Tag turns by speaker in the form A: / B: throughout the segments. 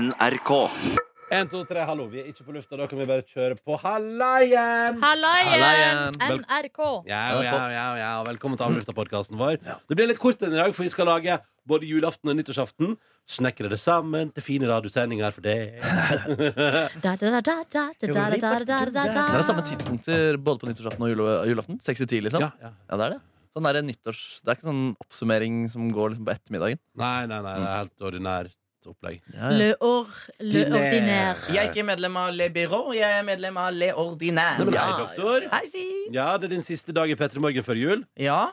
A: NRK.
B: 1, 2, 3, hallo. Vi er ikke på lufta, da kan vi bare kjøre på. Hallaien!
C: Hallaien!
B: Vel-
C: NRK.
B: Ja, Mm. ja, ja, ja. Velkommen til Avlufta-podkasten vår. Det blir litt kort en i dag, for vi skal lage både julaften og nyttårsaften. Snekre det sammen til fine radiosendinger for deg.
C: Da, da, da, da, da, da, da, da, da, da, da.
D: Det er det samme tidspunkter både på nyttårsaften og jule- julaften. 6-10, liksom.
B: Ja,
D: Ja.
B: ja.
D: det er det. Sånn er det nyttårs... Det er ikke sånn oppsummering som går liksom på ettermiddagen.
B: Nei, nei, nei. Det er helt ordinært opplegg.
C: Le or, le ordinær.
E: Jeg er ikke medlem av Le Byrå, jeg er medlem av Le Ordinaire.
B: Nei, men hei, doktor.
E: Hei, si!
B: Ja, det er din siste dag i P3 Morgen før jul.
E: Ja.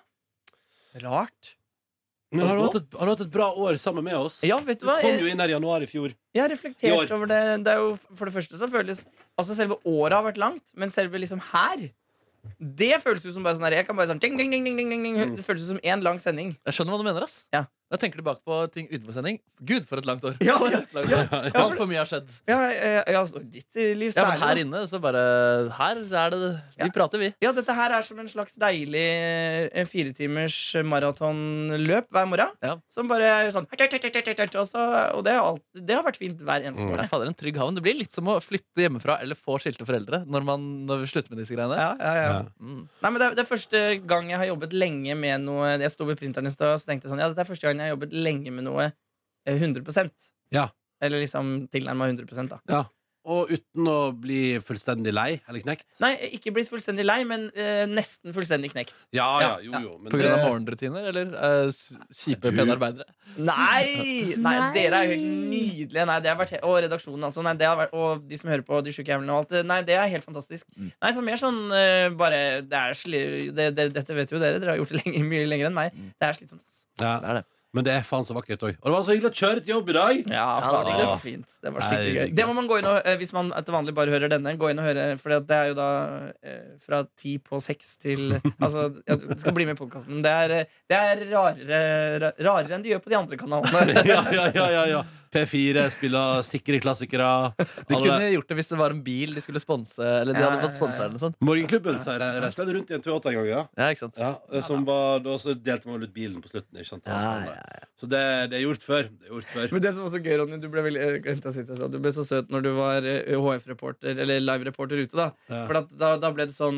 E: Rart.
B: Men har du, hatt et, har du hatt et bra år sammen med oss?
E: Ja, vet
B: Du
E: du hva?
B: kom jo
E: Jeg,
B: inn her i januar i fjor.
E: jeg har
B: I
E: reflektert
B: år.
E: over det. det er jo, for det første så føles Altså, selve året har vært langt, men selve liksom her det føles jo som bare sånn her, jeg kan bare sånn ding, ding, ding, ding, ding, ding. Det føles ut som én lang sending.
D: Jeg skjønner hva du mener. ass
E: Ja.
D: Jeg tenker tilbake på ting utenfor sending. Gud, for et langt år!
E: Ja,
D: For et langt år.
E: for-
D: Altfor mye har skjedd.
E: Ja, ja, ja altså, ditt liv
D: Ja,
E: særlig.
D: men her inne, så bare Her er det Vi
E: Ja.
D: prater, vi.
E: Ja, dette her er som en slags deilig eh, firetimers maratonløp hver morgen.
D: Ja.
E: Som bare er sånn og, så, og det, har alt, det har vært fint hver eneste
B: Mm.
D: Det
E: morgen.
D: er fader en trygg havn. Det blir litt som å flytte hjemmefra eller få skilte foreldre når, man, når vi slutter med disse greiene.
E: Ja, ja, ja.
B: Ja.
D: Mm.
E: Nei, men det, er, det er første gang jeg har jobbet lenge med noe Jeg sto ved printeren i stad og så tenkte jeg sånn Ja, dette er første gang jeg har jobbet lenge med noe eh, 100
B: Ja.
E: Eller liksom tilnærma 100 da.
B: Og uten å bli fullstendig lei eller knekt.
E: Nei, ikke blitt fullstendig lei, men eh, nesten fullstendig knekt.
B: Ja, ja,
E: Ja,
B: jo,
E: ja.
B: jo. Men
D: På grunn av
B: det-
D: morgenrutiner eller eh, s- kjipe
B: Du-
D: penarbeidere.
E: Nei! Nei,
C: Nei.
E: dere er jo helt nydelige. Nei, det har vært he og redaksjonen, altså. Nei, det har vært, og de som hører på, de sjuke jævlene og alt. det- Nei, det er helt fantastisk. Nei, så mer sånn eh, bare det er sli det, det, Dette vet jo dere, dere har gjort det lenge, mye lenger enn meg. Det er slitsomt. ass.
B: Ja.
D: Det er det.
B: Men det er faen så vakkert òg. Og det var så hyggelig å kjøre til jobb i dag!
E: Ja,
D: det var
E: faen,
D: digg,
E: det var
B: ass.
E: fint. Det var skikkelig
B: Herregud.
E: gøy. Det må man gå inn og, eh, hvis man til vanlig bare hører denne, gå inn og høre, for det er jo da eh, fra ti på seks til Altså, ja, du skal bli med i podkasten. Det er, eh, det er rarere, rarere enn de gjør på de andre kanalene.
B: Ja, ja, ja, ja, ja. P4 spiller sikre klassikere.
D: De
B: Alle-
D: kunne gjort det hvis det var en bil de skulle sponse. Eller de
E: Ja,
D: hadde
E: ja,
D: fått sponsa eller noe sånt.
B: Morgenklubben så re- reiste rundt i en Toyota en gang, ja.
D: Ja, ikke sant?
B: ja eh, som var, da så delte man vel ut bilen på slutten. Ikke sant? Det var
D: Ja,
B: spennende. Så det, det er gjort før. Det er gjort før.
E: Men det som var så gøy, Ronny, du ble, veldig, jeg glemte å si det, jeg sa, du ble så søt når du var eh, HF-reporter Eller live-reporter ute. Da
B: Ja.
E: For at, da, da ble det sånn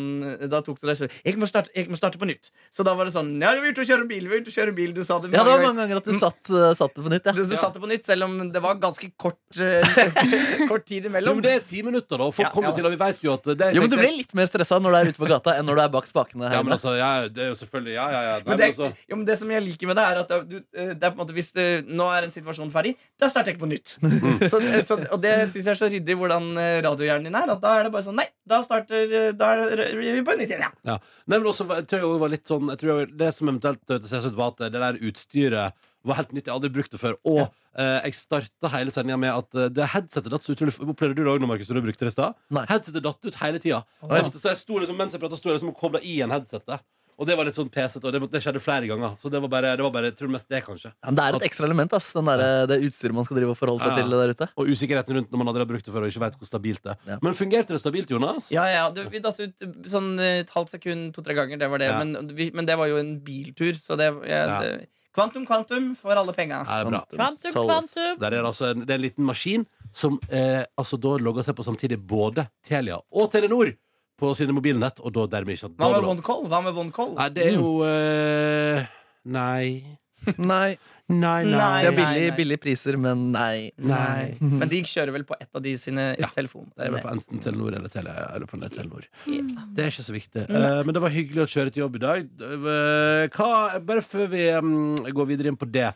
E: Da tok du deg selv jeg, må starte- 'Jeg må starte på nytt'. Så da var det sånn 'Ja, vi er ute og kjører bil', vi er ute og kjører bil. Du sa det
D: Ja, det var
E: ganger.
D: mange ganger at du satt, eh, satt det på nytt.
E: Du,
D: Ja.
E: du
B: Ja.
E: sa det på nytt, selv om det var ganske kort, eh, kort tid
B: Jo,
E: imellom.
B: men det er ti minutter, da. Folk
E: Ja,
B: kommer
E: ja.
B: til, og vi vet jo at det
D: Jo, men Du blir litt mer stressa når du er ute på gata enn når du er bak spakene. her
B: Ja, men
D: inne.
B: altså, ja, det er jo selvfølgelig Ja, ja, ja. Nei,
E: Men
B: men
E: det,
B: altså,
E: jo, men det som jeg liker med det, er at da- du, eh, det er på en måte, hvis eh, nå er en situasjon ferdig, da starter jeg ikke på nytt. så, eh, så, og det syns jeg er så ryddig hvordan eh, radiohjernen din er. At da er det bare sånn Nei, da starter eh, Da er det- vi på nytt igjen, ja.
B: ja. Nei, men også, jeg tror jeg også var litt sånn jeg tror jeg, Det som eventuelt hørtes ut som, var at det der utstyret var helt nytt. Jeg har aldri brukt det før. Og eh, jeg starta hele sendinga med at eh, det headsetet datt så utrolig Opplevde du det òg nå, Markus, når du brukte det i stad?
D: Nei.
B: Headsetet datt ut hele tida. Så, jeg måtte- så jeg sto liksom, mens jeg prata, sto jeg liksom og kobla i en headsetet. Og det var litt sånn pesete, og det, måtte- det skjedde flere ganger. Så det var bare, det var bare jeg tror mest det, kanskje.
D: Ja, men det er et ekstra element, ass, den der, eh, det utstyret man skal drive og forholde seg
B: Ja.
D: til der ute.
B: Og usikkerheten rundt når man aldri har brukt det før og ikke vet hvor stabilt det er.
D: Ja.
B: Men fungerte det stabilt, Jonas?
E: Ja, ja, du, Vi datt ut sånn eh, et halvt sekund to-tre ganger, det var det.
B: Ja.
E: Men, vi, men det var jo en biltur, så det, jeg,
B: Ja.
E: det Kvantum, kvantum for alle penga.
B: Ja, det er bra.
C: Kvantum,
D: Solus.
C: kvantum.
B: Der er det, altså en, det er en liten maskin som eh, altså da logger seg på samtidig både Telia og Telenor på sine mobilnett, og da dermed ikke at
E: Hva med
B: dobbelt-
E: one call? Hva med one call?
B: Nei, det er jo eh, Nei.
D: Nei.
B: Nei, nei.
E: Nei.
D: De har billige,
E: nei.
D: billige priser, men nei.
B: Nei.
E: Men de kjører vel på ett av de sine telefoner.
B: Det er vel på enten Telenor eller Telia. Eller på nett Telenor. Det er ikke så viktig. Eh, men det var hyggelig å kjøre til jobb i dag. Eh, hva, bare før vi mm, går videre inn på det.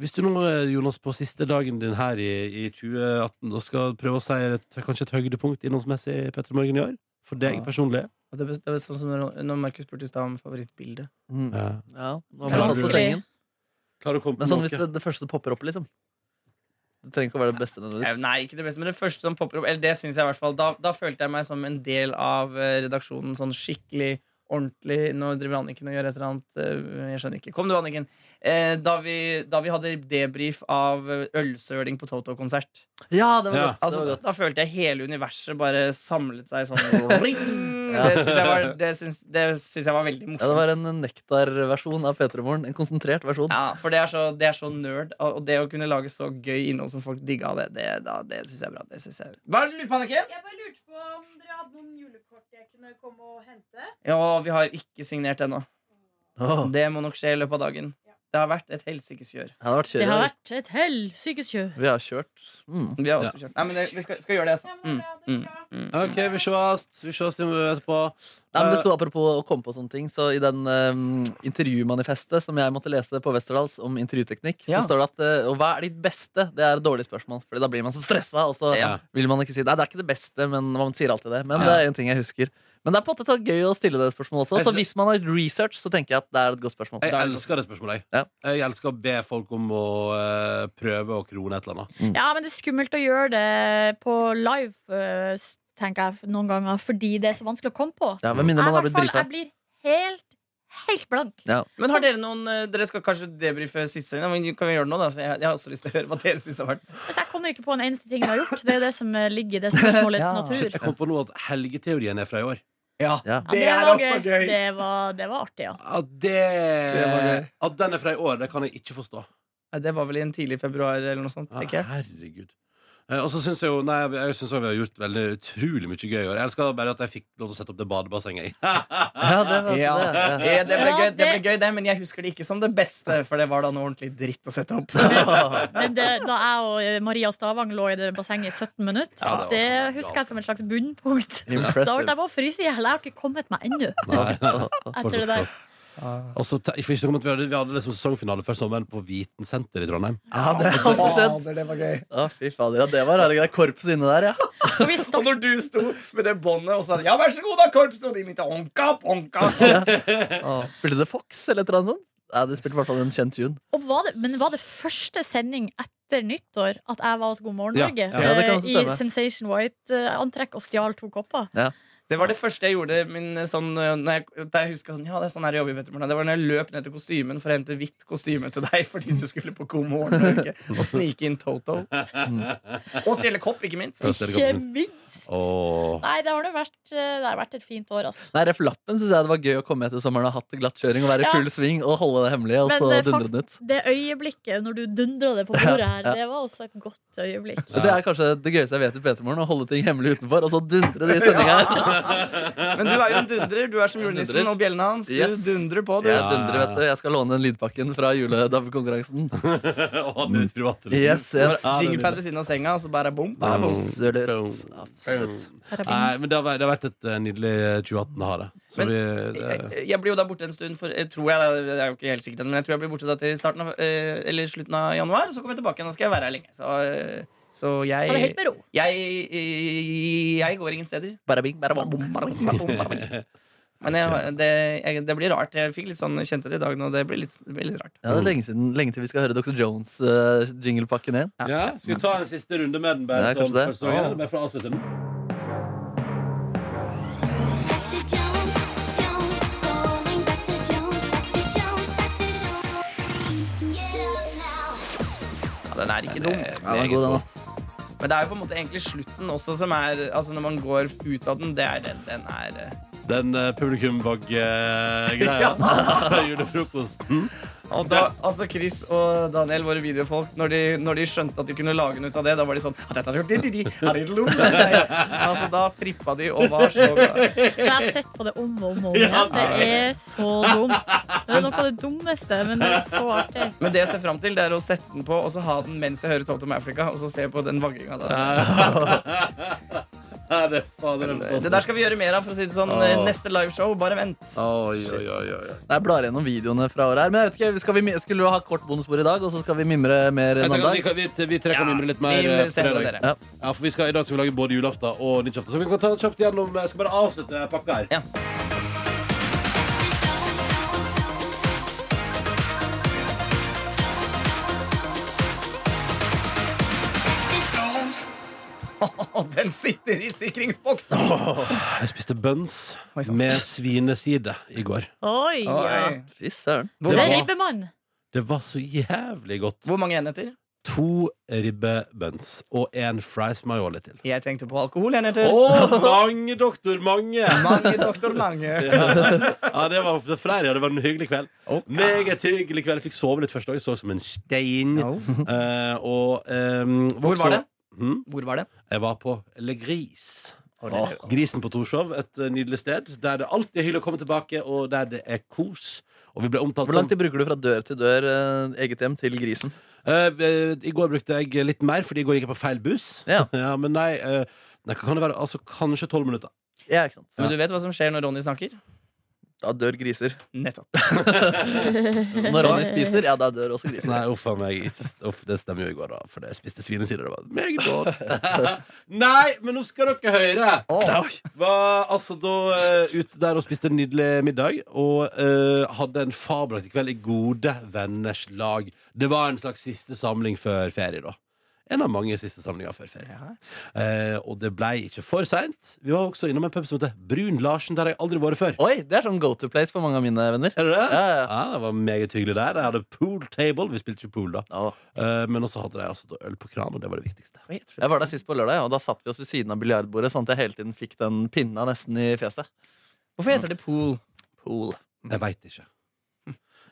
B: Hvis du nå, eh, Jonas, på siste dagen din her i, i 2018 da skal prøve å si et, kanskje et høydepunkt innholdsmessig i Petter Morgen i år? For deg
D: Ja.
B: personlig?
E: Og Det er, det er sånn som når- når Markus spurte i stad om favorittbildet.
D: Mm.
B: Ja.
D: Ja, nå
B: Det er
D: må du på
C: vanskelig.
D: sengen.
B: Klarer å komme på
D: Men sånn hvis
B: noe?
D: det, det første det popper opp, liksom. Det trenger ikke å være det beste. nødvendigvis.
E: Nei, ikke det beste, men det første som popper opp, eller det synes jeg i hvert fall, da, da følte jeg meg som en del av eh, redaksjonen sånn skikkelig ordentlig Nå driver Anniken og gjør et eller annet. eh, Jeg skjønner ikke. Kom du, Anniken. Eh, da, vi, da vi hadde debrief av eh, ølsøling på Toto-konsert.
D: Ja, det var
B: Ja.
D: godt. det
E: Altså,
D: var
E: da,
D: godt.
E: da følte jeg hele universet bare samlet seg sånn ring. Det syns jeg, var- det syns- det syns jeg var veldig
D: Ja, det var
E: morsomt.
D: en nektarversjon av P3morgen. En konsentrert versjon.
E: Ja, for det er, så, det er så nerd. Og og det å kunne lage så gøy innhold som folk digga det, det, da- det syns jeg er bra. Det syns jeg. Hva er det du lurer på, Anniken?
A: Jeg bare lurte på om dere hadde noen julekort jeg kunne komme og hente.
E: Ja, vi har ikke signert ennå.
D: Åh,
E: Det må nok skje i løpet av dagen. Det har vært et helsikes kjør.
D: det har vært
C: Det har
D: kjøring.
C: vært et helsikes kjør.
D: Vi har kjørt. Mm.
E: Vi har også kjørt. Nei, men det, vi skal, skal gjøre det, altså.
A: Ja,
E: Mm,
A: men det er bra, det er
E: mm,
A: bra.
E: mm.
B: OK, vi sees. Vi sees etterpå.
D: Nei,
B: Eh,
D: men det sto Apropos å komme på sånne ting, så i den eh, intervjumanifestet som jeg måtte lese på Westerdals om intervjuteknikk,
E: Ja.
D: så står det at eh, Og hva er ditt beste? Det er et dårlig spørsmål, Fordi da blir man så stressa, og så
B: Ja.
D: vil man ikke si Nei, det er ikke det beste, men man sier alltid det. Men
B: Ja.
D: det er en ting jeg husker. Men det er på en måte så gøy å stille det spørsmålet også.
B: Jeg
D: Så
B: sy-
D: hvis man har research, så tenker jeg at det er et godt spørsmål.
B: Jeg
D: Det er-
B: elsker det spørsmålet.
D: Ja.
B: Jeg, jeg elsker å be folk om å eh, prøve å krone et eller annet.
F: Ja, men det er skummelt å gjøre det på live, øh, s- tenker jeg noen ganger, fordi det er så vanskelig å komme på.
D: Ja, Med mindre man har
F: jeg, i hvert
D: blitt
F: fall,
D: brifa.
F: jeg blir helt, helt blank.
E: Men har dere noen eh, Dere skal kanskje debrife siste sending, men kan vi gjøre det nå, da? Så jeg, jeg har også lyst til å høre hva dere syns har vært.
F: Altså, jeg kommer ikke på en eneste ting vi har gjort. Det er jo det som eh, ligger i det spørsmålets
E: Ja.
B: Shit,
F: natur.
B: jeg kom på nå at helgeteorien er fra i år.
D: Ja.
F: Ja,
E: Det er
F: var
E: også gøy.
F: Det var, det var artig, ja.
B: At, det,
E: Det var gøy.
B: at den er fra i år, det kan jeg ikke forstå.
E: Nei, det var vel i en tidlig februar eller noe sånt.
B: Ja,
E: tenker jeg
B: herregud. Eh, Og så syns jeg jo Nei, jeg synes også vi har gjort veldig utrolig mye gøy i år. Jeg elsker bare at jeg fikk lov til å sette opp det badebassenget. i.
D: Ja, det var,
E: Ja.
D: Det, ja.
E: Eh, det, ble
F: Ja,
E: gøy, det ble
F: det-
E: gøy, det, men jeg husker det ikke som det beste, for det var da noe ordentlig dritt å sette opp.
F: Men det, da jeg og eh, Maria Stavang lå i det bassenget i 17 minutter,
B: Ja, det var
F: det,
B: også-
F: husker jeg som et slags bunnpunkt. Da ble
D: Impressive.
F: jeg bare fryse i hjel. Jeg har ikke kommet meg ennå.
B: Nei,
F: Etter det der.
B: Og så te- for ikke så godt, vi hadde, vi hadde liksom sesongfinale før sommeren på Viten senter i Trondheim.
D: Ja, det er også skjedd. Å, fy fader. Ja, det var rare greier. Korpset inni der, ja.
F: Og vi
E: Og
F: stakk
E: når du sto med det båndet og sa 'ja, vær så god, da, korps', og de begynte onka, onka.
D: Spilte det Fox eller et eller annet sånt? Ja, de spilte i hvert fall en kjent tune.
F: Og var det, men var det første sending etter nyttår at jeg var hos God morgen
B: Ja,
F: Norge?
B: ja.
D: Ja, det kan
F: eh,
D: også
F: I
D: stemme.
F: Sensation White-antrekk og stjal to kopper?
E: Det var det første jeg gjorde min eh, sånn, eh, når jeg, da jeg husker sånn, ja, det er sånn her jeg jobber i Petermorgen. Det var når jeg løp ned til kostymen for å hente hvitt kostyme til deg fordi du skulle på God morgen Norge og snike inn Toto. Og stjele kopp, ikke minst.
B: Ja, så er det
F: Ikke
B: godt
F: minst!
B: Åh.
F: Nei, det har nå vært, eh, det har vært et fint år, altså.
D: Nei, Ref lappen syns jeg det var gøy å komme etter sommeren og ha hatt glatt kjøring og være i
F: Ja.
D: full sving og holde det hemmelig, og
F: Men,
D: så
F: eh,
D: dundre den ut.
F: Det øyeblikket når du dundra det på bordet her,
D: Ja, ja.
F: det var også et godt øyeblikk.
D: Jeg tror Det er kanskje det gøyeste jeg vet i P3morgen, å holde ting hemmelig utenfor, og så dundre det i sendinga.
E: Men du er jo en dundrer. Du er som julenissen
D: Dundrer.
E: og bjellene hans. Du
D: Yes.
E: dundrer på, du.
D: Jeg dundrer, vet du. Jeg skal låne den lydpakken fra juledabbekonkurransen.
B: Åh, det er litt privat.
D: Yes, yes.
B: Ja, det er
E: Jinglepad ved siden av senga, og så bare bom.
B: Ja,
E: bom.
D: Absolutt. Absolutt.
B: Mm. Nei, men det har, vært- det har vært et eh, nydelig 2018 å ha det. Så
E: Men-
B: vi, eh,
E: Jeg,
B: det
E: jeg blir jo da borte en stund, for jeg tror jeg, jeg er jo ikke helt sikker, men jeg tror jeg blir borte da til starten av, eh, eller slutten av januar. Så kommer jeg tilbake igjen, og skal jeg være her lenge. Så, eh, så
F: Ta det helt
E: jeg
F: med ro.
E: jeg, eh, jeg går ingen steder.
D: Bare bing, bare bom, bom, bom, bom.
E: Men jeg, det, jeg, det blir rart. Jeg fikk litt sånn kjente det i dag nå. Det blir litt, det blir litt rart.
D: Ja, det er lenge, siden, lenge til vi skal høre eh, Dr. Jones-jinglepakken igjen.
B: ja, skal vi ta en siste runde med den? Bare,
D: Ja,
B: sånn,
D: kanskje det.
B: for så, ja, bare for å avslutte den.
E: Ja, den er ikke dum.
D: Ja, den er god, den, ass.
E: Men det er jo på en måte egentlig slutten også som er Altså når man går ut av den, det er den, den er eh,
B: Den uh, publikumvogg-greia
E: Ja.
B: fra julefrokosten.
E: Og da, altså Chris og Daniel, våre videofolk, når de, når de skjønte at de kunne lage noe ut av det, da var de sånn Altså Da trippa de og var så glad.
F: Men jeg har sett på det om og om og om igjen. Det er så dumt. Det er noe av det dummeste, men det er så artig.
E: Men det jeg ser fram til, det er å sette den på og så ha den mens jeg hører Toto med Africa, og så se på den vagginga der.
B: Herre fader, den
E: Det der skal vi gjøre mer av, for å si det sånn.
D: Åh.
E: Neste liveshow, bare vent.
B: Oi, oi, oi, oi. oi.
D: Jeg blar gjennom videoene fra året her. Men jeg vet ikke, skal vi, mi- skulle du ha kort bonusbord i dag, og så skal vi mimre mer
B: Jeg
D: en
B: tenker
D: annen
B: at vi,
D: dag?
B: kan- vi, vi tre kan
E: Ja,
B: mimre litt
E: vi
B: mer. eh,
E: mimrer senere,
B: fredag.
E: dere.
B: Ja, for vi skal, I dag skal vi lage både julaften og nyttårsaften. Så vi kan ta kjapt gjennom Jeg skal bare avslutte pakka her.
E: Ja. Den sitter i sikringsboksen!
B: Jeg spiste bøns
E: Oi, sant.
B: med svineside i går.
F: Oi! Ja.
E: Oi.
D: Fy søren.
E: Hvor,
F: Det er
E: mange-
F: ribbemann.
B: Det var så jævlig godt.
E: hvor mange enheter?
B: To ribbebøns og en fries mayoli til.
E: Jeg tenkte på alkoholenheter.
B: Å, mange, doktor, mange!
E: Mange doktor Lange.
B: Ja, det var på fredag, det var en hyggelig kveld.
E: Ok.
B: Meget hyggelig kveld. Jeg fikk sove litt først òg, så som en stein. Eh, og ehm,
E: Hvor var det?
B: Hm?
E: Hvor var det?
B: Jeg var på Le Gris.
E: Åh.
B: Grisen på Torshov, et eh, nydelig sted der det alltid er hyggelig å komme tilbake, og der det er kos. Og vi ble omtalt
D: Hvor
B: som
D: lang tid bruker du fra dør til dør, eh, eget hjem, til grisen?
B: Eh, eh, I går brukte jeg litt mer, fordi i går gikk jeg på feil buss.
D: Ja.
B: men nei, eh, nei, hva kan det være? Altså, kanskje tolv minutter.
D: Ja, ikke sant?
E: Men du vet hva som skjer når Ronny snakker?
D: Da dør griser.
E: Nettopp.
D: Når Ronny spiser, ja, da dør også griser.
B: Nei, uff a meg. Uff, det stemmer jo i går, da. For jeg spiste svinesider. Det var meget godt. nei, men nå skal dere høre! Var altså da eh, ute der og spiste en nydelig middag. Og eh, hadde en fabelaktig kveld i gode venners lag. Det var en slags siste samling før ferie, da. En av mange siste samlinger før ferie. Eh, og det blei ikke for seint. Vi var også innom en pub som heter Brun Larsen, der har jeg aldri vært før.
D: Oi, det er sånn go to place for mange av mine venner.
B: Er det det?
D: Ja, ja, ja.
B: Ja, det var meget hyggelig der. De hadde pool table. Vi spilte ikke pool, da.
D: Å,
B: Eh, men også hadde de altså da øl på kran, og det var det viktigste.
D: Jeg var der sist på lørdag, og da satt vi oss ved siden av biljardbordet, sånn at jeg hele tiden fikk den pinna nesten i fjeset.
E: Hvorfor heter det pool?
D: Pool.
B: Jeg veit ikke.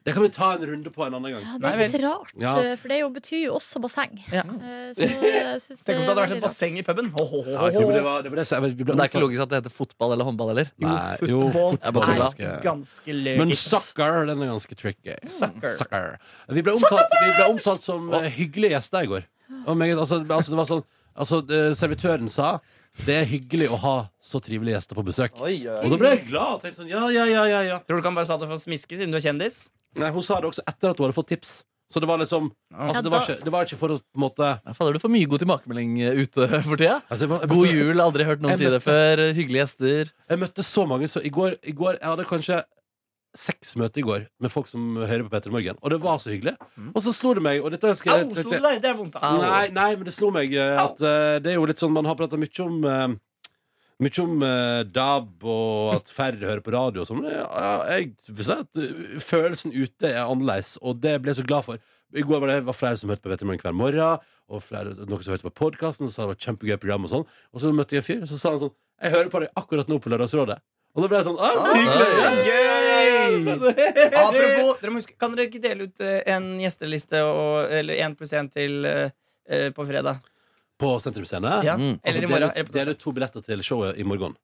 B: Det kan vi ta en runde på en annen gang.
F: Ja, det er litt rart,
B: Ja.
F: eh, for det jo betyr jo også basseng.
E: Ja.
F: Eh, Så jeg syns det
E: Tenk om det
F: er
E: hadde vært et
F: veldig rart.
E: basseng i puben. Ho, ho, ho,
B: Ja, ikke,
E: ho.
B: men det var, det var det, så jeg, vi ble
D: Men det er ikke logisk at det heter fotball eller håndball heller.
B: Nei,
E: Jo,
B: jo,
E: fotball
D: Jeg bare
E: er
D: tulla.
B: ganske-
E: ganske
B: Men
E: løgisk.
B: sucker, den er ganske tricky.
E: Sucker.
B: Sucker. Vi ble omtalt, vi ble omtalt som eh, hyggelige gjester i går. Og meget, altså, det ble- altså, det var sånn, altså, eh, servitøren sa det er hyggelig å ha så trivelige gjester på besøk.
D: Oi,
B: Og da ble jeg glad. og tenkte sånn, ja, ja, ja, ja, ja.
E: Tror du ikke han bare sa det for å smiske, siden du er kjendis?
B: Nei, Hun sa det også etter at hun hadde fått tips. Så det var liksom altså, det, var
F: Ja, da-
B: ikke, det var ikke for å på en måte
D: Fader, du får mye god tilbakemelding eh, ute for tida.
B: altså, jeg var- jeg
D: God
B: møtte-
D: jul, aldri hørt
B: Jeg
D: noen si det før. Hyggelige gjester.
B: Jeg møtte så mange. Så i, går, I går Jeg hadde kanskje seks møter i går med folk som hører på Petter i Morgen, og det var så hyggelig. Og så slo det meg og dette skal
E: Au,
B: jeg-
E: slo du deg? Det Ah. er vondt. da.
D: Au.
B: Nei, nei, men det slo meg eh,
E: Au.
B: at eh, det er jo litt sånn Man har prata mye om eh, mye om eh, DAB og at færre hører på radio og sånn. men Ja, ja, jeg vil si at eh, følelsen ute er annerledes, og det ble jeg så glad for. I går var det var flere som hørte på Petter i Morgen hver morgen, og flere, noen som hørte på podkasten og sa det var et kjempegøy program og sånn. Og så møtte jeg en fyr, og så sa han sånn Jeg hører på deg akkurat nå på Lørdagsrådet. Og da ble jeg sånn Å, så hyggelig! Ja,
D: Oi.
B: ja, det ble så-
E: Gøy!
B: he, he, he.
E: Apropos, dere må huske, kan dere ikke dele ut eh, en gjesteliste og, eller én pluss én til eh, eh, på fredag?
B: På Sentrum Scene.
E: Ja.
D: Mm.
E: Eller i
B: Altså, deler
E: morgen.
B: ut-
E: Eller på-
B: deler ut to billetter til showet i morgen.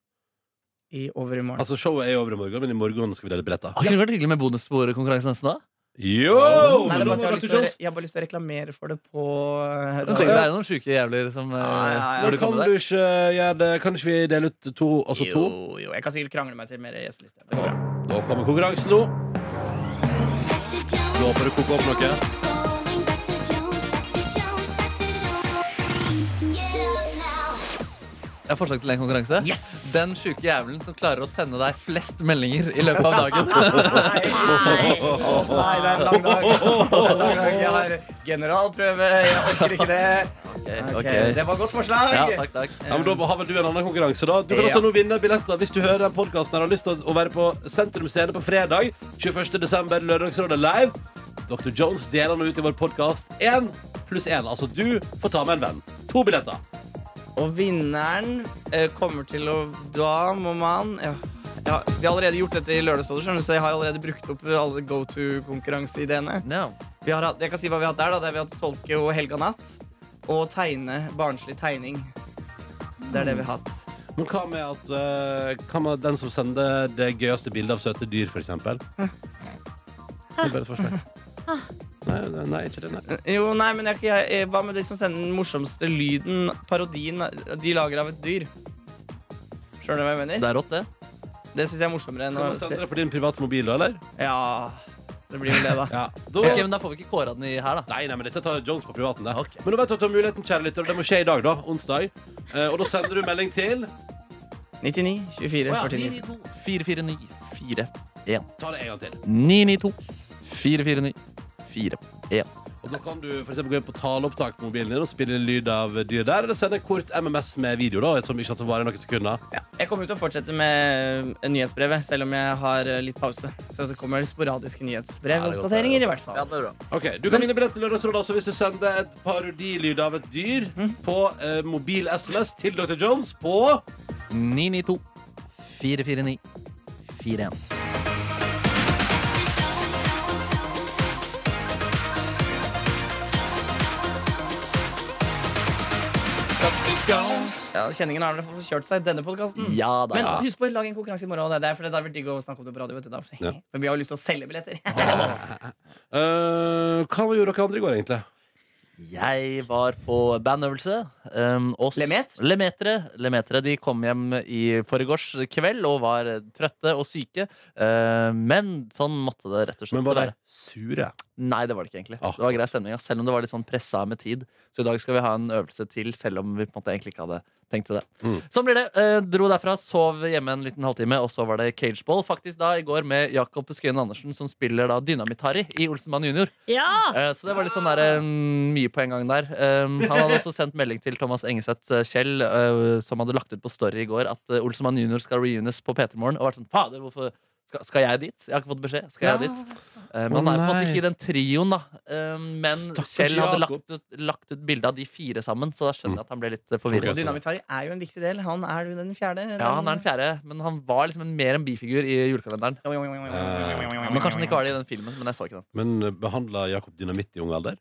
E: I over i morgen.
B: Altså Showet er jo over i morgen, men i morgen skal vi dele billetter.
E: Ah,
D: Har ikke det vært hyggelig med bonussporkonkurransen nesten da?
B: Yo!
E: Nei, det er bare at jeg, har lyst til å,
B: Jones.
E: jeg har bare lyst til å reklamere for det på eh,
D: Men tenk, Det er jo noen syke jævler som eh,
E: Ja, ja, ja.
D: burde
B: Men kan
D: komme
B: du
D: der.
B: ikke gjøre det? Kan ikke vi dele ut to, altså to?
E: Jo, jo, jeg kan sikkert krangle meg til mer gjesteliste. Det går bra.
B: Da kommer konkurransen nå. Nå får du koke opp noe.
D: Jeg har forslag til en konkurranse.
E: Yes!
D: Den syke jævlen som klarer å sende deg flest meldinger i løpet av dagen.
E: Nei, nei, det er en lang dag. Lang dag. Jeg har generalprøve. Jeg orker ikke det. Ok,
D: ok.
E: Det var et godt forslag.
D: ja, takk, takk.
B: Ja, men da har vel du en annen konkurranse, da. Du kan
E: Ja.
B: også nå vinne billetter hvis du hører den podkasten og har lyst til å være på Sentrum Scene på fredag. 21. desember, Lørdagsrådet live. Dr. Jones deler nå ut i vår podkast én pluss én. Altså du får ta med en venn. To billetter.
E: Og vinneren eh, kommer til å Da må man ja. Ja, Vi har allerede gjort dette i Lørdagsrådet, skjønner du, så jeg har allerede brukt opp alle go to-konkurranseideene.
D: Ja.
E: Vi har hatt- Jeg kan si hva vi har hatt der. da Det er Vi har hatt tolke og Helga natt. Og tegne barnslig tegning. Det er det vi har hatt.
B: Men hva med at eh, Hva med den som sender det gøyeste bildet av søte dyr, for eksempel? Det er bare et forslag. Nei, nei, nei, ikke det. Nei.
E: Jo, nei, men jeg, jeg, jeg, Hva med de som sender den morsomste lyden, parodien de lager av et dyr? Skjønner du hva jeg mener?
D: Det er rått, det.
E: Det syns jeg er morsommere enn å
B: Skal du
E: se
B: sende det på din private mobil, da, eller?
E: Ja, det blir vel det, da.
B: Ja. Da,
D: Ok, men Da får vi ikke kåra den i her, da.
B: Nei, nei, men dette tar Jones på privaten. Det.
D: Ok.
B: Men nå vet du at du har muligheten, kjære lytter, og det må skje i dag, da. Onsdag. Eh, og da sender du melding til
E: 99, 24,
D: Å ja,
E: 49.
D: 449 4
B: Ta det en gang til.
D: 992 449 4 1.
B: Og da kan du for eksempel gå inn på taleopptak på mobilen din og spille inn lyd av dyr der, eller sende kort MMS med video, da, som ikke varer noen sekunder.
E: Jeg kommer jo til å fortsette med eh, nyhetsbrevet, selv om jeg har eh, litt pause. Så det kommer sporadiske
B: Ja, det er godt, det er
E: nyhetsbrevoppdateringer, i hvert fall.
D: Ja, det er bra.
B: Ok, Du kan vinne billett til Lørdagsrådet også hvis du sender et parodilyd av et dyr på eh, mobil-SMS til Dr. Jones på
D: 992 449 41.
E: Ja, Kjenningen har i hvert fall kjørt seg i denne podkasten.
D: Ja da.
E: Men husk på å lage en konkurranse i morgen. og Det er derfor det hadde vært digg å snakke om det på radio. Vet du, da. For-
B: Ja.
E: Men vi har jo lyst til å selge billetter.
B: eh, Hva gjorde dere andre i går, egentlig?
D: Jeg var på bandøvelse. Um, oss,
E: Lemet?
D: Lemetere. Lemetere. De kom hjem i forgårs kveld og var eh, trøtte og syke. Eh, men sånn måtte det rett og slett
B: Men var de
D: være.
B: sure?
D: Nei, det var det ikke egentlig.
B: Ah.
D: Det var grei stemning, ja. selv om det var litt sånn pressa med tid. Så i dag skal vi ha en øvelse til, selv om vi på en måte egentlig ikke hadde tenkt til det.
B: Mm.
D: Sånn blir det. Eh, dro derfra, sov hjemme en liten halvtime, og så var det cageball faktisk da i går med Jakob Skøyen Andersen, som spiller da Dynamitt-Harry i Olsenmann junior.
F: Ja!
D: Eh, Så det var litt sånn der, eh, mye på en gang der. Eh, Han hadde også sendt melding til Thomas Engeseth eh, Kjell, eh, som hadde lagt ut på Story i går, at eh, Olsemann junior skal reunes på P3 Morgen. Og vært sånn Fader, hvorfor skal, skal jeg dit? Jeg har ikke fått beskjed. Skal jeg dit? Eh, Men
B: Å,
D: han er på en
B: nei.
D: måte ikke i den trioen, da. Eh, Men
B: Stakkars
D: Kjell hadde
B: Jakob.
D: lagt ut, lagt ut bilde av de fire sammen, så da skjønner jeg at han ble litt eh,
E: Og
D: forvirra.
B: Ok, så-
E: Dynamitt-Harry er jo en viktig del. Han er jo den fjerde.
D: Ja, han er den fjerde, men han var liksom en mer enn bifigur i julekalenderen.
E: fjerde.
D: Men Kanskje han ikke var det i den filmen, men jeg så ikke den.
B: Men eh, behandla Jakob dynamitt i ung alder?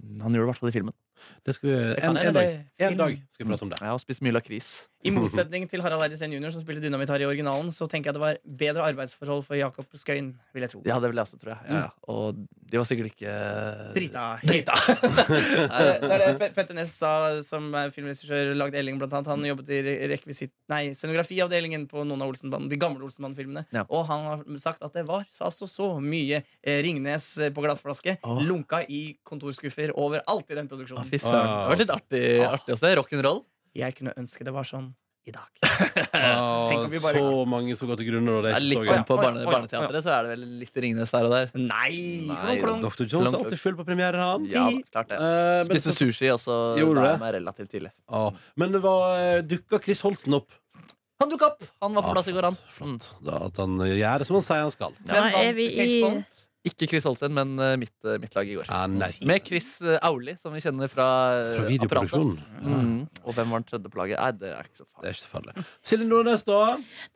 D: Han gjorde det i hvert fall i filmen.
B: Det skal vi, en, en, dag, en dag skal vi prate om det.
D: Jeg har spist mye lakris.
E: I motsetning til Harald Eide Steen jr., som spilte Dynamitt-Harry i originalen, så tenker jeg det var bedre arbeidsforhold for Jakob Skøyen, vil jeg tro.
D: Ja, det vil jeg også, tror jeg. Ja, ja. Og de var sikkert ikke
E: Drita. Drita. Nei, det er det Pe- Petter Ness sa, som er filmregissør, lagde Elling blant annet. Han jobbet i re- rekvisitt... Nei, scenografiavdelingen på noen av Olsenbanden, de gamle Olsenbanden-filmene.
D: Ja.
E: Og han har sagt at det var så- altså så mye eh, Ringnes eh, på glassflaske.
D: Åh.
E: Lunka i kontorskuffer overalt i den
D: Å,
E: produksjonen.
D: eh, Fy søren. Ah, Det var litt artig, artig å se. Rock'n'roll.
E: Jeg kunne ønske det var sånn i dag. Tenk om
B: Ah,
E: vi bare-
B: så mange som går til grunne, og det er
D: Det
B: ikke
D: er Litt
B: så
D: sånn
B: gøy.
D: på
E: Oi,
D: barne,
E: oi, oi.
D: barne-teatret, så er det vel litt Ringenes her og der.
E: Nei!
D: Nei,
E: klunk, klunk.
B: Dr. Jones er alltid full på premierer, han.
D: Ja, klart det.
B: Eh, men,
D: Spiste sushi også
B: Gjorde
D: der
B: det?
D: meg relativt tidlig.
B: Ja, men det var dukka Chris Holsten opp?
D: Han dukka opp! Han var
B: Ja,
D: på plass i går, han. Mm.
B: Ah, Flott. Da, at han gjør det som han sier han skal.
F: Da
E: Hvem vant
F: er vi i
E: cageballen?
D: Ikke Chris Holsten, men eh, mitt, eh, mitt lag i går.
B: Ah, nei.
D: Med Chris eh, Auli, som vi kjenner fra, eh,
B: Fra
D: apparatet.
B: videoproduksjonen.
D: Mm. Og hvem var den tredje på laget? Nei, det er ikke så
B: Det
D: farlig.
B: er ikke så farlig. Silje Nordnes, da?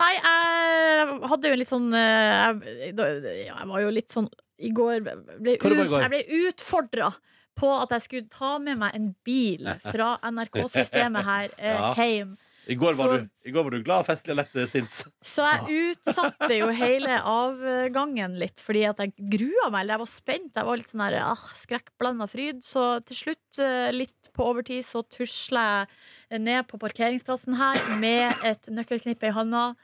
F: Nei, jeg hadde jo en litt sånn eh, Jeg, da- ja, jeg var jo litt sånn I går ble
B: Hva det var i
F: ut,
B: går?
F: jeg ble utfordra på at jeg skulle ta med meg en bil fra NRK-systemet her eh,
B: Ja.
F: hjem.
B: I går var,
F: Så-
B: du, i går var du glad, festlig og lett eh, sinns.
F: Så jeg utsatte jo hele avgangen litt, fordi at jeg grua meg. Eller jeg var spent. Jeg var litt sånn der, ah, skrekkblanda fryd. Så til slutt, eh, litt på overtid, så tusla jeg ned på parkeringsplassen her med et nøkkelknippe i handa.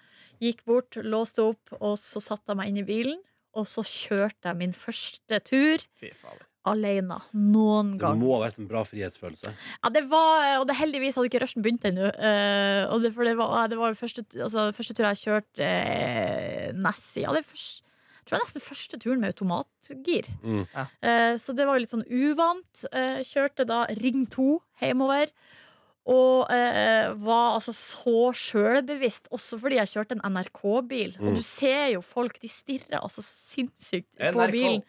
F: Gikk bort, låste opp, og så satte jeg meg inn i bilen. Og så kjørte jeg min første tur
E: Fy fader.
F: alene. Noen
B: Det
F: gang.
B: må ha vært en bra frihetsfølelse.
F: Ja, det var, og det heldigvis hadde ikke rushen begynt ennå. eh, og det, for det var, det var jo første, altså, første tur jeg kjørte uh, Nessie. Ja, det er først, jeg tror det er nesten første turen med automatgir.
B: Mm.
E: Ja.
F: Eh, så det var jo litt sånn uvant. Eh, kjørte da Ring 2 hjemover. Og eh, var altså så sjølbevisst, også fordi jeg kjørte en NRK-bil.
B: Mm.
F: Og du ser jo folk, de stirrer altså sinnssykt på
E: NRK.
F: bilen.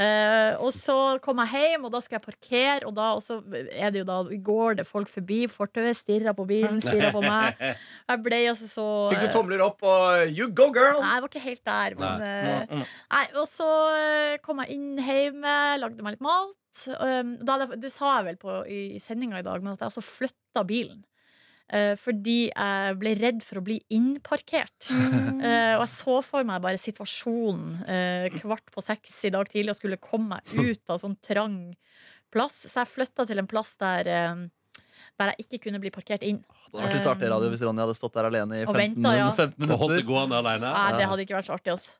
F: Eh, og så kom jeg hjem, og da skal jeg parkere, og da og så er det jo da går det folk forbi fortauet, stirrer på bilen, stirrer på meg. Jeg ble altså så
E: Fikk du
F: eh,
E: tomler opp og You go, girl!
F: Nei, jeg var ikke helt der, men eh,
E: Mm, mm.
F: Nei, og så eh, kom jeg inn hjemme, lagde meg litt mat. Um, da, hadde jeg- det sa jeg vel på, i, i sendinga i dag, men at jeg også flytta bilen. Eh, fordi jeg ble redd for å bli innparkert. Eh, og jeg så for meg bare situasjonen eh, kvart på seks i dag tidlig og skulle komme meg ut av sånn trang plass. Så jeg flytta til en plass der, eh, der jeg ikke kunne bli parkert inn.
D: Det hadde vært litt artig radio hvis Ronny hadde stått der alene i
F: Og
D: 15,
F: ventet, ja.
D: 15
B: Og holdt det
D: minutter.
B: gående alene.
F: Nei, det hadde ikke vært så artig. Altså.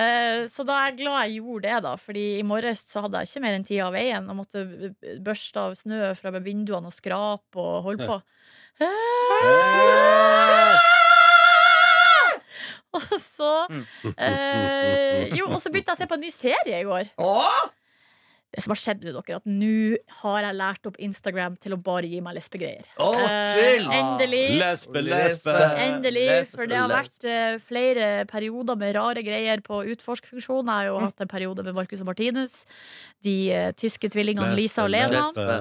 F: Eh, så da er jeg glad jeg gjorde det, da. Fordi i morges så hadde jeg ikke mer enn tida av veien. Jeg måtte b- børste av snø fra vinduene og skrape og holde på. Og så eh, Jo, og så begynte jeg å se på en ny serie i går.
E: Åh!
F: det som har skjedd med dere, at nå har jeg lært opp Instagram til å bare gi meg lesbegreier.
D: Å,
F: Eh,
D: chill!
F: endelig.
B: Lesbe,
E: lesbe.
B: lesbe.
F: Endelig,
D: Les-
F: for det har vært eh, flere perioder med rare greier på utforskfunksjon. Jeg har jo hatt en periode med Marcus og Martinus. De eh, tyske tvillingene Lisa og Lena.
D: lesbe.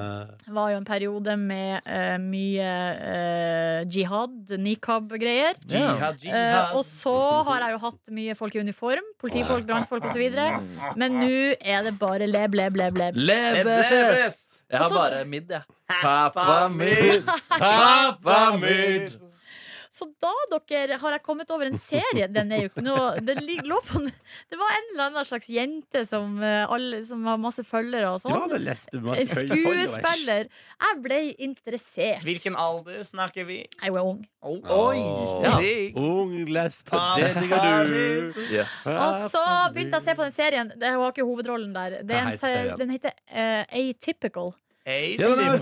F: Var jo en periode med eh, mye eh, jihad, nikab-greier.
E: Jihad,
F: Eh,
E: jihad.
F: og så har jeg jo hatt mye folk i uniform. Politifolk, brannfolk osv. Men nå er det bare leb, leb, leb. leb.
D: Leve Eh, fest!
E: Everest!
D: Jeg har
F: Også-
D: bare midd, jeg. Pappa
E: midd,
D: Pappa
F: Så da dere, har jeg kommet over en serie. Den er jo ikke noe Det, lig- lå på, en- det var en eller annen slags jente som, eh, alle, som har masse følgere og
B: Det var
F: sånn.
B: vel lesbe med
F: En
B: masse følgere. Oi, oi.
F: skuespiller. Jeg ble interessert.
E: Hvilken alder snakker vi?
F: Jeg var ung.
E: Oi!
D: Ja.
E: Digg.
B: Ung lesbe, det
E: Pappa
B: digger du.
E: midd.
D: Yes.
F: Og så begynte jeg å se på den serien. Det var ikke hovedrollen der. Det er
B: Hva
F: en,
B: heter
F: se-
B: serien?
F: den heter eh, Atypical.
E: Hey,
B: Ja, det
E: Simon.
B: var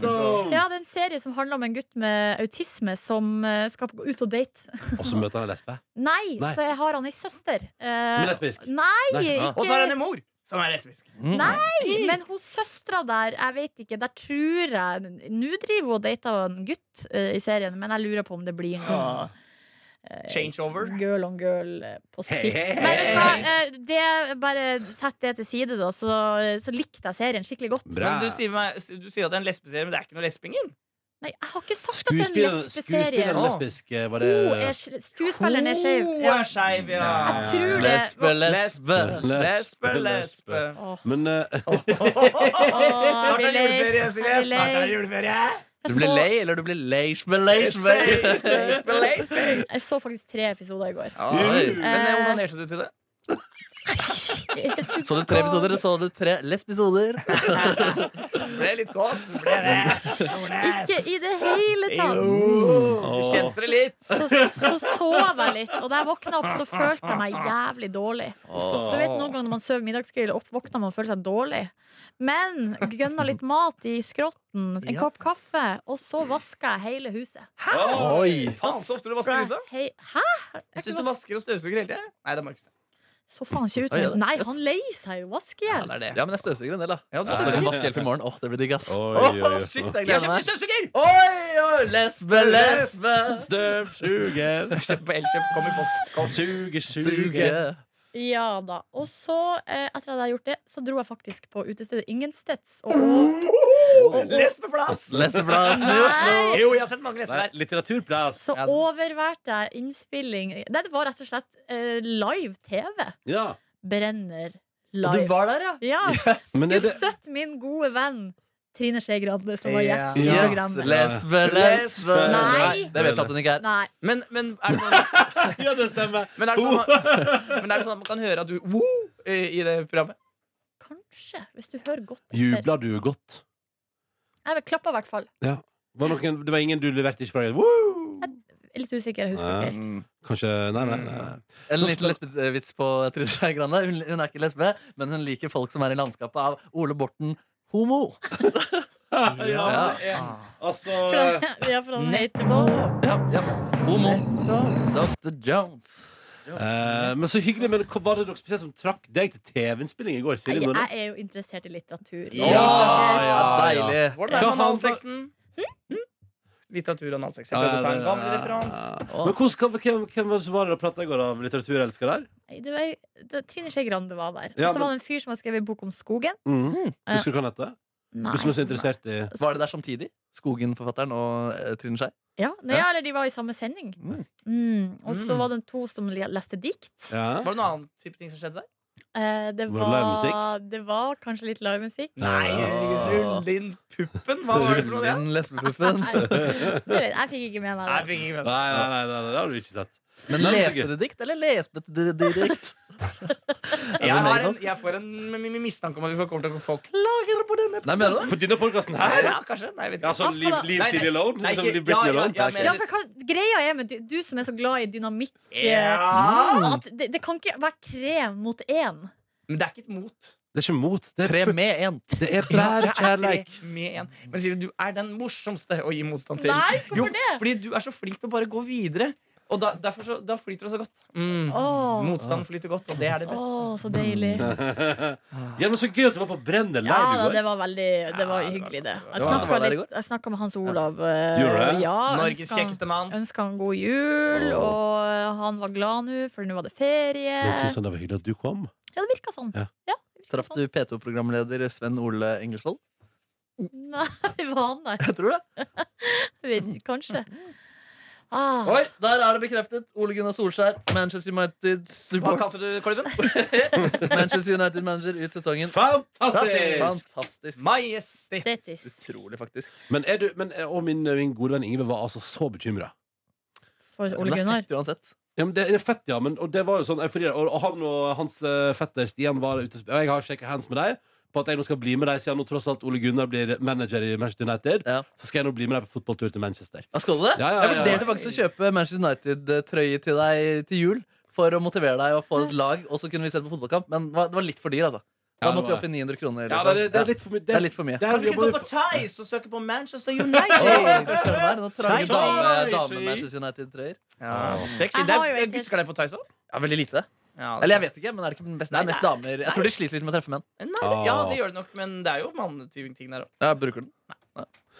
B: det.
F: Ja, det er en serie som handler om en gutt med autisme som eh, skal gå ut og date.
B: Og så møter han en lesbe.
F: Nei,
B: Nei.
F: så jeg har han ei søster. Eh,
B: Som er lesbisk?
F: Nei,
B: Nei, ah.
F: ikke
E: Og så har han en mor som er lesbisk.
D: Mm.
F: Nei, men hos søstera der, jeg vet ikke, der tror jeg Nå driver hun og dater en gutt eh, i serien, men jeg lurer på om det blir noe
E: Ah. Changeover.
F: girl on girl eh, på sikt.
B: Hey, hey,
F: Men vet du hva,
E: hey,
F: eh, det, bare sett det til side, da, så, eh, så likte jeg serien skikkelig godt.
B: Bra.
E: Men du sier, meg, du sier at det er en lesbeserie, men det er ikke noe lesbingen.
F: Nei, jeg har ikke sagt at det er en
B: Skuespilleren skuespilleren
F: lesbeserie.
B: er
E: Å.
B: lesbisk, eh, var det
F: Hun er sk- Skuespilleren er skeiv.
E: Hun
F: Ja.
E: er skeiv, ja.
F: Jeg tror det.
D: Lesbe, lesbe.
E: Lesbe, lesbe.
F: Åh,
B: Men eh,
E: Snart er det juleferie, Silje.
F: Jeg blir lei.
E: Snart er det juleferie.
F: jeg
D: Du blir
F: så-
D: lei, eller du blir leisbe, leisbe.
E: Lesbe, lesbe.
F: Jeg så faktisk tre episoder i går.
D: Oi.
E: Men eh, onanerte du til det?
D: Så du tre episoder, eller så du tre lesbisoder?
E: Du ble litt kåt. Du ble det. Nordnes.
F: Ikke i det hele tatt!
D: Oh.
E: Jo, Du kjente det litt.
F: så, så sov jeg litt, og da jeg våkna opp, så følte jeg meg jævlig dårlig. Du vet Noen ganger når man sover middagskveld, opp våkner man og føler seg dårlig. Men gønna litt mat i skrotten, en
E: Ja.
F: kopp kaffe, og så vaska jeg hele huset.
D: Oi.
E: Faen, så ofte du vasker huset.
F: Hei, hæ? Jeg
E: Syns
F: kunne
E: du
F: vaske-
E: vasker og støvsuger hele tida? Nei, det er Markus.
F: så faen ikke ut.
D: Oi, ja,
F: med-
D: det-
F: Nei,
D: yes.
F: han leier seg jo.
E: Ja,
F: Vaskehjelp.
E: det er det.
D: Ja, men jeg støvsuger en del, da.
E: Ja,
D: Så jeg
E: du støvsuger.
D: kan vaske hjelp i morgen. Åh, det blir digg, ass.
B: Oi, oi, oi.
D: Åh, shit, jeg
E: Jeg har
D: gleder
E: kjøpt
D: meg.
E: støvsuger!
D: Oi, oi, lesbe, lesbe.
B: Støvsuger,
E: Kjøp på Elkjøp. Kom i post. Kom.
B: suger,
D: Suge.
B: suger.
F: Ja da. Og så, eh, etter at jeg hadde gjort det, så dro jeg faktisk på utestedet Ingensteds. Og, og,
E: Lesbeplass!
D: Lesbeplassen i Oslo.
F: Nei.
E: Jo, jeg har sett mange lesber
B: Nei,
E: der.
B: litteraturplass.
D: altså.
F: så overværte jeg innspilling Nei, det var rett og slett eh, live TV.
B: Ja.
F: Brenner
D: Og Du
F: live.
D: var der, ja?
F: Ja,
B: Men
F: Skulle
B: er det-
F: støtte min gode venn Trine Skei Grande, som var
E: Ja.
F: gjest i
D: Yes,
F: programmet.
D: lesbe, lesbe.
F: Nei.
D: Det vet jeg at hun ikke er.
F: Nei.
E: Men, men, er det sånn,
B: ja, det stemmer.
E: men, er det sånn, men er det sånn at man kan høre at du wow, i det programmet?
F: Kanskje, hvis du hører godt etter.
B: Jubla du godt?
F: Jeg klappa i hvert fall.
B: Var noen, det var ingen du leverte ikke fra deg? Woo!
F: Jeg er Litt usikker, jeg husker ikke helt.
B: Kanskje Nei, nei. nei.
D: En
B: Så
D: liten lesbevits på Trine Skei Grande. Hun, hun er ikke lesbe, men hun liker folk som er i landskapet av Ole Borten homo. Ja.
B: Altså
F: Fra, ja, fra den heter-
D: Ja, ja. Homo. Dr. Jones.
B: eh, Men så hyggelig. Men hva var det dere spesielt som trakk deg til TV-innspilling i går? Silje
F: Nei,
B: Nordnes?
F: Jeg er jo interessert i litteratur.
D: Ja, ja, deilig.
E: Hvordan er det
B: Ja, han-
E: med analsexen? Hm? Litteratur og analsex. Jeg prøvde å ta en gammel referanse.
B: Ja. Men hvordan, hvem, hvem var det som var der og prata i går, av litteraturelsker der?
F: Nei, Det var, det, Trine Skei Grande var der.
B: Ja,
F: Og så
B: men-
F: var det en fyr som har skrevet bok om skogen.
B: Mm. Husker du hva han heter?
F: Nei.
B: Du som er så interessert i
D: Var det der samtidig? Skogen-forfatteren og eh, Trine Skei?
F: Ja, nei, ja, eller de var i samme sending.
D: Mm.
F: Mm. Og så
E: Mm.
F: var det to som le- leste dikt.
B: ja.
E: Var det noen annen type ting som skjedde der?
F: Eh, det,
B: Var det
F: var, det var kanskje litt livemusikk.
E: Nei, rull inn puppen! Hva var det for noe? det?
D: Rull inn lesbepuffen.
F: Nei, det vet jeg jeg fikk ikke med meg
E: Nei,
F: det.
E: jeg fikk ikke med
B: Nei, nei, nei, nei, nei, det har du ikke sett.
D: Men
B: Nei, men så
D: leste du dikt, eller leste du dikt?
E: meg. Jeg, har en, jeg får en m- m- mistanke om at vi får- kommer til å få klager på denne.
D: Nei, altså, mener du det?
B: På denne podkasten her?
E: Ja, kanskje? Nei, jeg vet
B: Ja,
E: ikke.
B: sånn Liv, Liv
E: Nei, nei.
B: Silje Alone?
E: Nei,
B: liksom
E: ikke-
B: Liv
E: ja,
B: Britney
E: ja,
B: Alone?
E: ja,
B: Nei,
E: men-
F: Ja, for hva, greia er med du, du som er så glad i dynamikk eh,
E: Ja.
F: at det, det kan ikke være tre mot én.
E: Men det er ikke et mot.
B: Det er ikke mot. Det
D: Tre
B: er,
D: med én.
B: det er bare
E: Jeg er
B: kjærleik.
E: tre Med en. Men Silje, du er den morsomste å gi motstand til.
F: Nei, hvorfor
E: Jo,
F: det?
E: Fordi du er så flink til å bare gå videre. Og da, derfor så, da flyter det så godt. Mm.
F: Åh.
E: Motstand flyter godt, og det er det beste.
F: Å, så deilig.
B: Mm. ja, men så gøy at du var på Brenner live
F: Ja,
B: i
F: da,
B: går.
F: det var veldig det var
E: Ja, det var
F: hyggelig, det.
E: godt.
F: Jeg
D: Det var han som
F: snakka
D: var der i
F: litt- jeg snakket med Hans Olav.
B: Gjorde
F: eh,
B: det?
F: Ja,
E: Norges
F: ønsket-
E: kjekkeste mann.
F: ønska han god jul,
B: Åh.
F: og han var glad nå, for nå var det ferie.
B: Men synes han det var hyggelig at du kom?
F: Ja, det virka sånn.
B: Ja.
F: Ja, det sånn. virka
D: Traff du P2-programleder Sven Ole Engelsvold?
F: sånn. Nei, var han der?
D: Jeg tror det.
F: Vel, Kanskje. Ah,
D: Oi, der er det bekreftet. Ole Gunnar Solskjær, Manchester United
E: Hva
D: support.
E: kalte du klubben?
D: Manchester United-manager ut sesongen.
B: Fantastisk!
D: Fantastisk.
E: Majestetis.
F: Detis.
D: Utrolig, faktisk.
B: Men er du, men, og min, min gode venn Ingve var altså så bekymra.
F: For
D: Men
F: Ole
D: det er
F: Gunnar.
D: fett uansett.
B: Ja, men det er fett, ja. Men, og det var jo sånn eufori. Og, og han og hans eh, fetter Stian var ute Og jeg har sjekka hands med deg på at jeg nå skal bli med deg siden nå tross alt Ole Gunnar blir manager i Manchester United.
D: Ja.
B: Så skal jeg nå bli med deg på fotballtur til Manchester.
D: Ja, skal du det?
B: Ja, ja,
D: Jeg
B: ja, ja.
D: vurderte faktisk å kjøpe Manchester United-trøye til deg til jul. For å motivere deg og få et lag, og så kunne vi sett på fotballkamp. Men det var- det var litt for dyr, altså. Da
B: Ja, det
D: måtte vi
B: var
D: opp i 900 kroner.
B: Ja,
D: liksom.
B: det, det er litt for mye.
D: Det er litt for mye.
B: det
E: Kan
B: her
E: du ikke
B: jobber
E: gå på
B: vi for-
E: Tice og søke på Manchester
D: Oi, du
E: United?
D: skjønner der, noen trange
E: Nice.
D: dame,
B: Nice.
D: dame Manchester United-trøyer.
E: Ja, sexy.
F: Jeg
E: Det
F: har jo
E: er
F: en
E: gutter der på Tice òg?
D: Ja, veldig lite.
E: Ja, altså.
D: Eller jeg vet ikke, men er det ikke den beste? Det er mest damer. Jeg tror de sliter litt med å treffe menn.
E: Nei, ja, det gjør det nok, men det er jo mannetyving-ting der òg.
D: Ja, bruker den.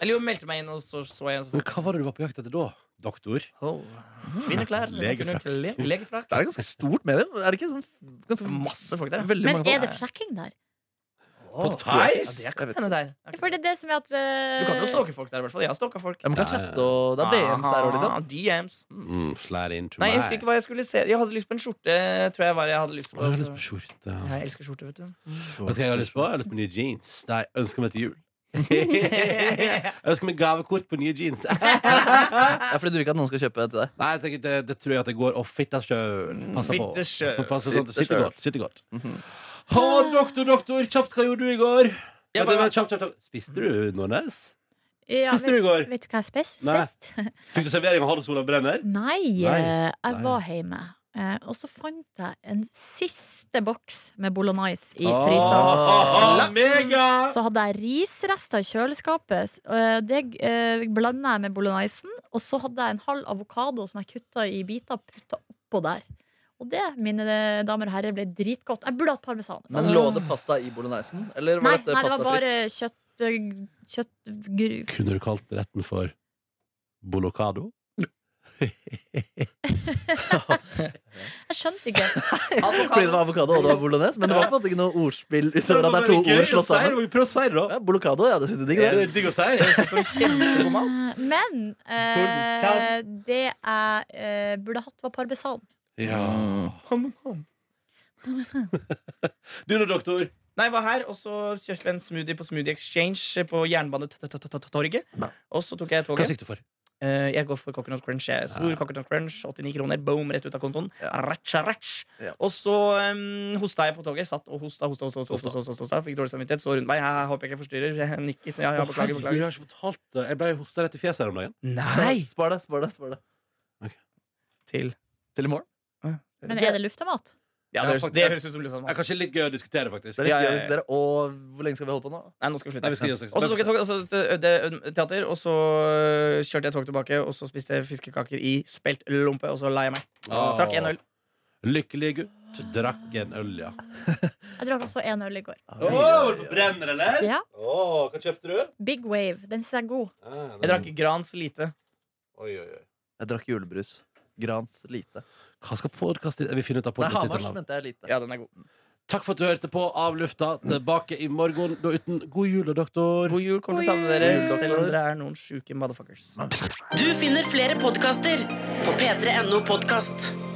E: Eller jo, meldte meg inn, og så så jeg en sånn
B: Men hva var det du var på jakt etter da? Doktor?
E: kvinneklær.
B: Legefrakk.
E: kvinneklær, Legefrakk.
D: Det er et ganske stort medium. Er det ikke sånn ganske
E: Masse folk der. ja.
D: veldig
F: Men
D: mange
F: er det
D: folk?
F: forsjekking der?
B: På
D: Ja,
B: Tice?
D: det er ikke- jeg vet
E: Henne
D: ikke.
E: der.
F: For det er det som er at eh,
E: Du kan jo stalke folk der, i hvert fall. Jeg har stalka folk.
D: Ja, Man kan
B: Ja, ja, ja.
D: chatte, og det er DMs der òg, liksom.
E: Aha, DMs.
B: Mm, slær inn to
E: Nei,
B: meg.
E: jeg husker ikke hva jeg skulle se. Jeg hadde lyst på en skjorte, tror jeg var jeg hadde lyst
B: Å,
E: på.
B: Jeg har lyst
E: så-
B: på skjorte.
E: Ja, jeg elsker skjorte, vet du.
B: Vet du hva jeg har lyst på? Jeg har lyst på nye jeans. Det er jeg ønsker meg til jul. jeg ønsker meg gavekort på nye jeans.
D: Ja, fordi du vil ikke at noen skal kjøpe til deg.
B: Nei, jeg tenker, det, det tror jeg at jeg går og fitter sjøl. Passer på.
E: Fitte sjø.
B: Og Passer sånn at det
D: Fitter
B: sitter
D: sjøl.
B: godt. Sitter godt. Ha, doktor, doktor, kjapt, hva gjorde du i går? Ja, det
E: Jeg bare-
B: var kjapt, kjapt, kjapt. Spiste du, Nordnes?
F: ja,
B: Spiste du i går?
F: vet, vet du hva jeg spes-
B: Nei.
F: spiste?
B: Fikk du servering av Hans Olav Brenner?
F: Nei,
B: Nei.
F: eh, jeg
B: Nei.
F: var hjemme. Eh, og så fant jeg en siste boks med bolognese i
B: Åh,
F: fryseren.
B: åh, ah, mega!
F: Så hadde jeg risrester i kjøleskapet. eh, Det eh, blanda jeg med bolognesen. Og så hadde jeg en halv avokado som jeg kutta i biter og putta oppå der. Og det, mine eh, damer og herrer, ble dritgodt. Jeg burde hatt parmesan.
E: Mm.
D: Men lå det pasta i bolognesen? Eller var
F: Nei,
D: dette
F: nei, det var bare
D: pastafritt?
F: kjøtt eh, Kjøtt gru-
B: Kunne du kalt retten for bolocado?
F: Jeg skjønte ikke.
D: Fordi det var avokado og det var bolognese? Men det var på en måte ikke noe ordspill utover at det er to ord slått sammen?
B: Prøv å si det, da.
D: Ja, Bolokado, ja, det sitter digg,
B: Det
D: det.
B: er digg å si.
E: Kjempegod mat.
F: Men eh, det jeg eh, burde hatt, var parmesan.
B: Ja. Du da, doktor?
E: Nei, jeg var her, og så kjøpte jeg en smoothie på Smoothie Exchange på Jernbanetorget. Og så tok jeg
B: Hva
E: toget.
B: sikter du for?
E: Eh, Jeg går for Coconut Crunch. Jeg. Stor Coconut Crunch, 89 kroner, boom, rett ut av kontoen. Ratcha, ratch.
D: Ja.
E: Og så um, hosta jeg på toget. Satt og hosta, hosta, hosta, hosta, hosta, hosta, hosta. fikk dårlig samvittighet. Så rundt meg. Jeg håper jeg ikke forstyrrer. Jeg nikket. Ja, ja, beklager,
B: Herregud, jeg
E: beklager. Ah.
B: har ikke fortalt det. Jeg ble hosta rett i fjeset her om dagen.
E: Nei!
D: Spar det, spar det. spar det
E: Til
D: Til i morgen.
F: Men er det luftmat?
E: Ja,
B: Ja,
E: det, høres-
B: faktisk-
E: det høres ut som liksom
B: Det er kanskje litt gøy å diskutere, faktisk.
D: Det er litt
E: Ja, ja,
D: gøy å
E: ja.
D: diskutere. Og hvor lenge skal vi holde på nå?
E: Nei, nå skal vi slutte.
B: Nei, vi skal gi oss liksom. ikke.
E: Og så tok jeg tog, altså, og så til Øde Øde teater, og så øh, kjørte jeg tog tilbake, og så spiste jeg fiskekaker i spelt lompe, og så la jeg meg.
B: Åh.
E: Drakk en øl.
B: Lykkelig gutt drakk en øl, ja.
F: Jeg drakk også en øl i går.
B: Åh, brenner, eller?
F: Ja,
B: Åh, hva kjøpte du?
F: Big Wave. Den syns jeg er god.
B: Ah, den-
E: Jeg drakk Grans lite.
B: Oi, oi, oi.
D: Jeg drakk julebrus. Grans lite.
B: Hva skal podkast Vi finner ut av
D: Nei, Hamars
B: podkast.
D: mente jeg lite.
E: Ja, den er god.
B: Takk for at du hørte på Av lufta. Tilbake i morgen, da uten God jul, da, doktor.
E: God jul, kommer til å savne
D: God
E: dere,
D: jul.
E: selv om dere er noen sjuke motherfuckers.
G: Du finner flere podkaster på p3.no podkast.